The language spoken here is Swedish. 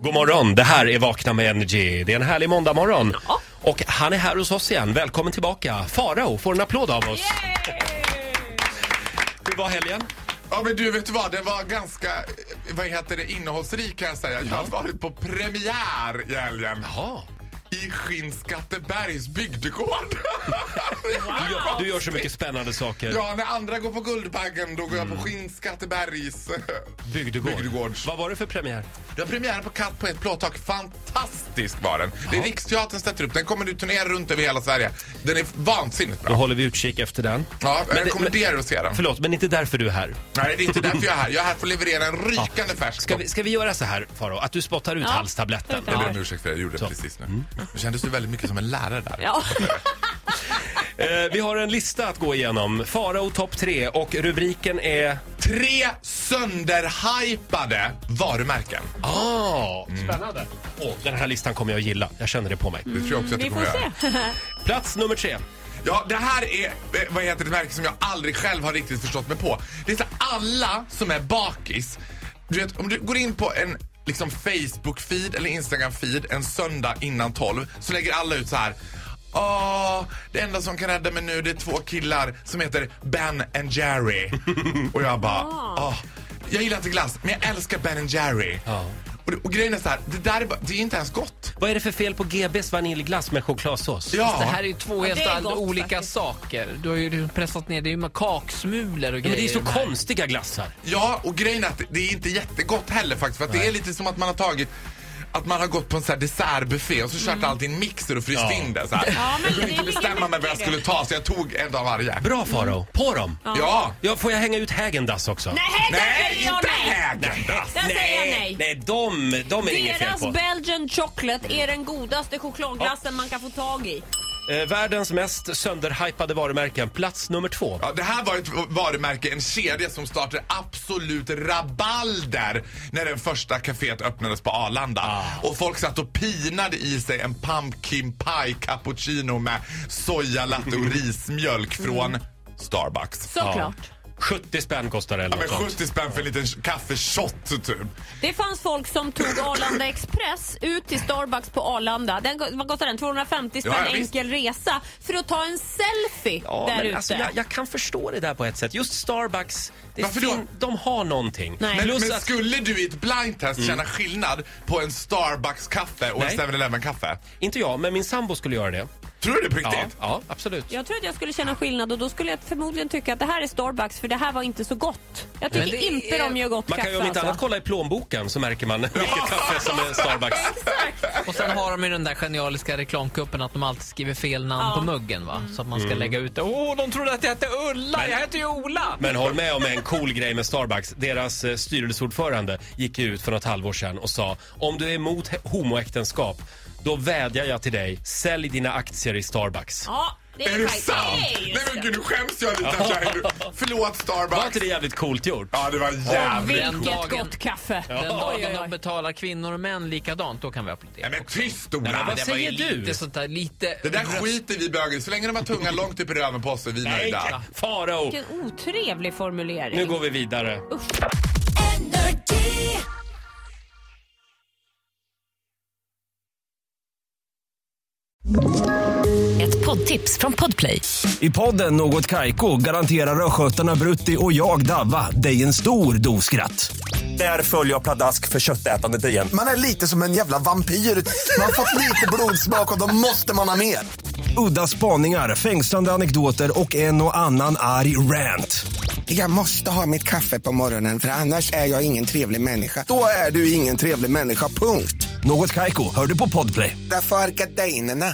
God morgon, det här är Vakna med Energy. Det är en härlig måndagmorgon. Ja. Och han är här hos oss igen. Välkommen tillbaka. Farao får en applåd av oss. Hur var helgen? Ja men du vet du vad, det var ganska, eh, vad heter det, innehållsrik kan jag säga. Jag har varit på premiär i helgen. Ja. I Skinnskattebergs bygdegård. Du, gör- du gör så mycket spännande saker. Ja, när andra går på Guldbaggen då går jag på Skinnskattebergs eh, Bygdegård. bygdegårds. Vad var det för premiär? Det var premiär på Katt på ett plåttak. Fantastisk var den. Det är Riksteatern sätter upp den. kommer nu turnera runt över hela Sverige. Den är vansinnigt Då bra. håller vi utkik efter den. Ja, jag Men det- rekommenderar att se den. Förlåt, men inte därför du är här. Nej, det är inte därför jag är här. Jag är här för att leverera en rykande färsk Ska vi, ska vi göra så här, Farao? Att du spottar ut Ja. halstabletten. Ja. Jag ber om ursäkt för det, jag gjorde det precis nu. Det kändes ju väldigt mycket som en lärare där. Ja. Eh, vi har en lista att gå igenom. Farao topp tre och rubriken är... Tre sönderhypade varumärken. Ah, spännande. Åh, den här listan kommer jag att gilla. Jag känner det på mig. Det tror jag också att du Vi kommer får göra. se. Plats nummer tre. Ja, det här är eh, vad heter det märke som jag aldrig själv har riktigt förstått mig på. Det är så här, alla som är bakis. Du vet, om du går in på en liksom Facebook-feed eller Instagram-feed en söndag innan 12 så lägger alla ut så här. Åh, det enda som kan rädda mig nu det är två killar som heter Ben and Jerry. Och jag bara, Ah. åh. Jag gillar inte glass, men jag älskar Ben and Jerry. Ja. Och, och grejen är så här, det där är, bara, det är inte ens gott. Vad är det för fel på GBs vaniljglass med chokladsås? Ja. Det här är ju två det helt är andra gott olika faktiskt. saker. Du har ju liksom pressat ner, det är ju med kaksmulor och Men grejer. det är så i de här. konstiga glassar. Ja, och grejen är att det är inte jättegott heller faktiskt. För att det är lite som att man har tagit att man har gått på en sån här dessertbuffé och så kört allt i en mixer och fryst Ja. in det så här. Mm. Ja, men jag kunde det inte ligger bestämma mig mycket vad jag i det. skulle ta så jag tog en av varje. Bra Farao, på dem! Ja. Ja! får jag hänga ut Hägendass också? Nej, där Nej, säger jag inte nej! Hägendas! Där säger jag nej. Nej, de, de är inget fel Deras på. Belgian chocolate är den godaste chokladglassen man kan få tag i. Eh, världens mest sönderhypade varumärken, plats nummer två. Ja, det här var ett varumärke, en kedja som startade absolut rabalder när det första kaféet öppnades på Arlanda. Och folk satt och pinade i sig en pumpkin pie cappuccino med sojalatte och rismjölk från Starbucks. Såklart. 70 spänn kostar det eller Ja, men något sånt. 70 spänn för en liten kaffeshot typ. Det fanns folk som tog Arlanda Express ut till Starbucks på Arlanda. Den, vad kostar den? 250 spänn Ja, ja, visst. enkel resa för att ta en selfie Ja, där men ute. alltså, jag, jag kan förstå det där på ett sätt. Just Starbucks, det Varför då? fin, de har någonting. Nej. Men, Plus men att, Mm. skulle du i ett blindtest känna skillnad på en Starbucks-kaffe och Nej. en 7-Eleven-kaffe? inte jag, men min sambo skulle göra det. Tror du det på Ja, riktigt? ja absolut. Jag tror att jag skulle känna skillnad och då skulle jag förmodligen tycka att det här är Starbucks för det här var inte så gott. Jag Men tycker det inte är- de gör gott Man kan kaffe ju om inte annat alltså. kolla i plånboken så märker man vilket kaffe som är Starbucks. Och sen har de ju den där genialiska reklamkuppen att de alltid skriver fel namn Ja. på muggen va? Så att man ska lägga ut det. Åh, de trodde att jag hette Ulla! Men- Jag heter ju Ola! Men håll med om en cool grej med Starbucks. Deras eh, styrelseordförande gick ju ut för något halvår sedan och sa om du är emot he- homoäktenskap då vädjar jag till dig, sälj dina aktier i Starbucks. Ja, det Är är, det faktiskt- sant? Det är ju Nej men gud, nu skäms jag lite. här, Shahir. Förlåt Var Starbucks. inte det jävligt coolt gjort? Ja, det var jävligt. Den Vilket dagen- gott kaffe! Den dagen Oj, oj, oj. de betalar kvinnor och män likadant, då kan vi applådera. Nej men tyst Ola! Nej, men vad Det var ju säger du? Lite sånt där, lite... Det där skiter vi i böger Så länge de har tungan långt upp i röven på oss är vi Nej, nöjda. Farao! Vilken otrevlig formulering. Nu går vi vidare. Ett poddtips från Podplay. I podden Något Kaiko garanterar östgötarna Brutti och jag, Davva, dig en stor dos skratt. Där följer jag pladask för köttätandet igen. Man är lite som en jävla vampyr. Man har fått lite blodsmak och då måste man ha mer. Udda spaningar, fängslande anekdoter och en och annan arg rant. Jag måste ha mitt kaffe på morgonen för annars är jag ingen trevlig människa. Då är du ingen trevlig människa, punkt. Något Kaiko, hör du på Podplay. Därför arkadeinerna.